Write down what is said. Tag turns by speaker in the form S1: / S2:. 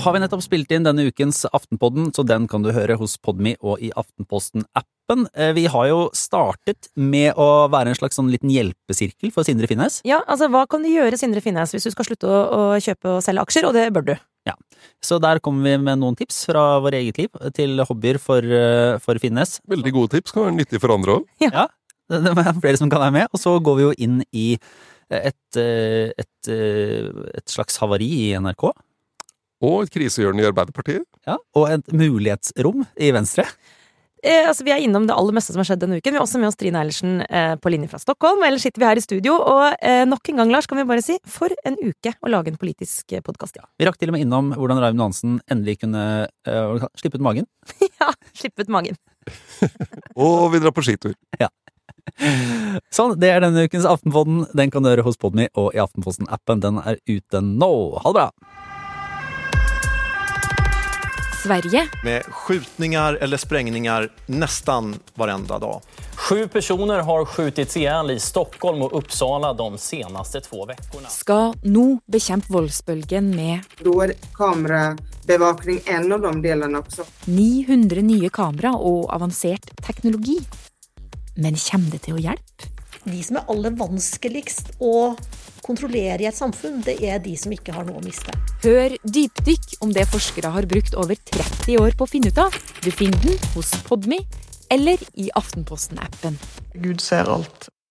S1: har vi nettopp spilt inn denne ukens Aftenpodden, så den kan du høre hos Podme og i Aftenposten-appen. Eh, Vi har jo startet med å være en slags sånn liten hjelpesirkel for Sindre Finnes.
S2: Ja, altså hva kan du gjøre, Sindre Finnes, hvis du skal slutte å, å kjøpe og selge aksjer, og det bør du.
S1: Så der kommer vi med noen tips fra vår eget liv til hobbyer for, eh, for Finnes.
S3: Veldig gode tips, kan være nyttig for andre òg.
S1: Det det er flere som kan være med. Og så går vi jo inn i et, eh, et, eh, et slags havari i NRK.
S3: Og et krisehjørne i Arbeiderpartiet.
S1: Ja, og et mulighetsrom i Venstre.
S2: Eh, altså, vi er innom det aller meste som har skjedd denne uken. Vi har også med oss Trine Eilertsen eh, på linje fra Stockholm. Ellers sitter vi her i studio, og eh, nok en gang, Lars, kan vi bare si for en uke å lage en politisk eh, podkast. Ja.
S1: Vi rakk til og med innom hvordan Raymond Johansen endelig kunne eh, slippe ut magen.
S2: ja, slippe ut magen.
S3: Og vi drar på skitur.
S1: Sånn, det er denne ukens Aftenpodden. Den kan du høre hos Podmy og i Aftenposten-appen. Den er ute nå. Ha det bra!
S4: Sverige,
S5: med skjutningar eller sprängningar nästan varenda dag.
S6: Sju personer har skjutits ihjäl i Stockholm och Uppsala de senaste två veckorna.
S4: skal nå bekjempe voldsbølgen med
S7: Då är kamerabevakning en av de delarna också.
S4: 900 nye kamera og avansert teknologi. Men kommer det til å hjelpe?
S8: De som er aller vanskeligst å kontrollere i et samfunn, det er de som ikke har noe å miste.
S4: Hør dypdykk om det forskere har brukt over 30 år på å finne ut av. Du finner den hos Podmy eller i Aftenposten-appen.
S9: Gud ser alt.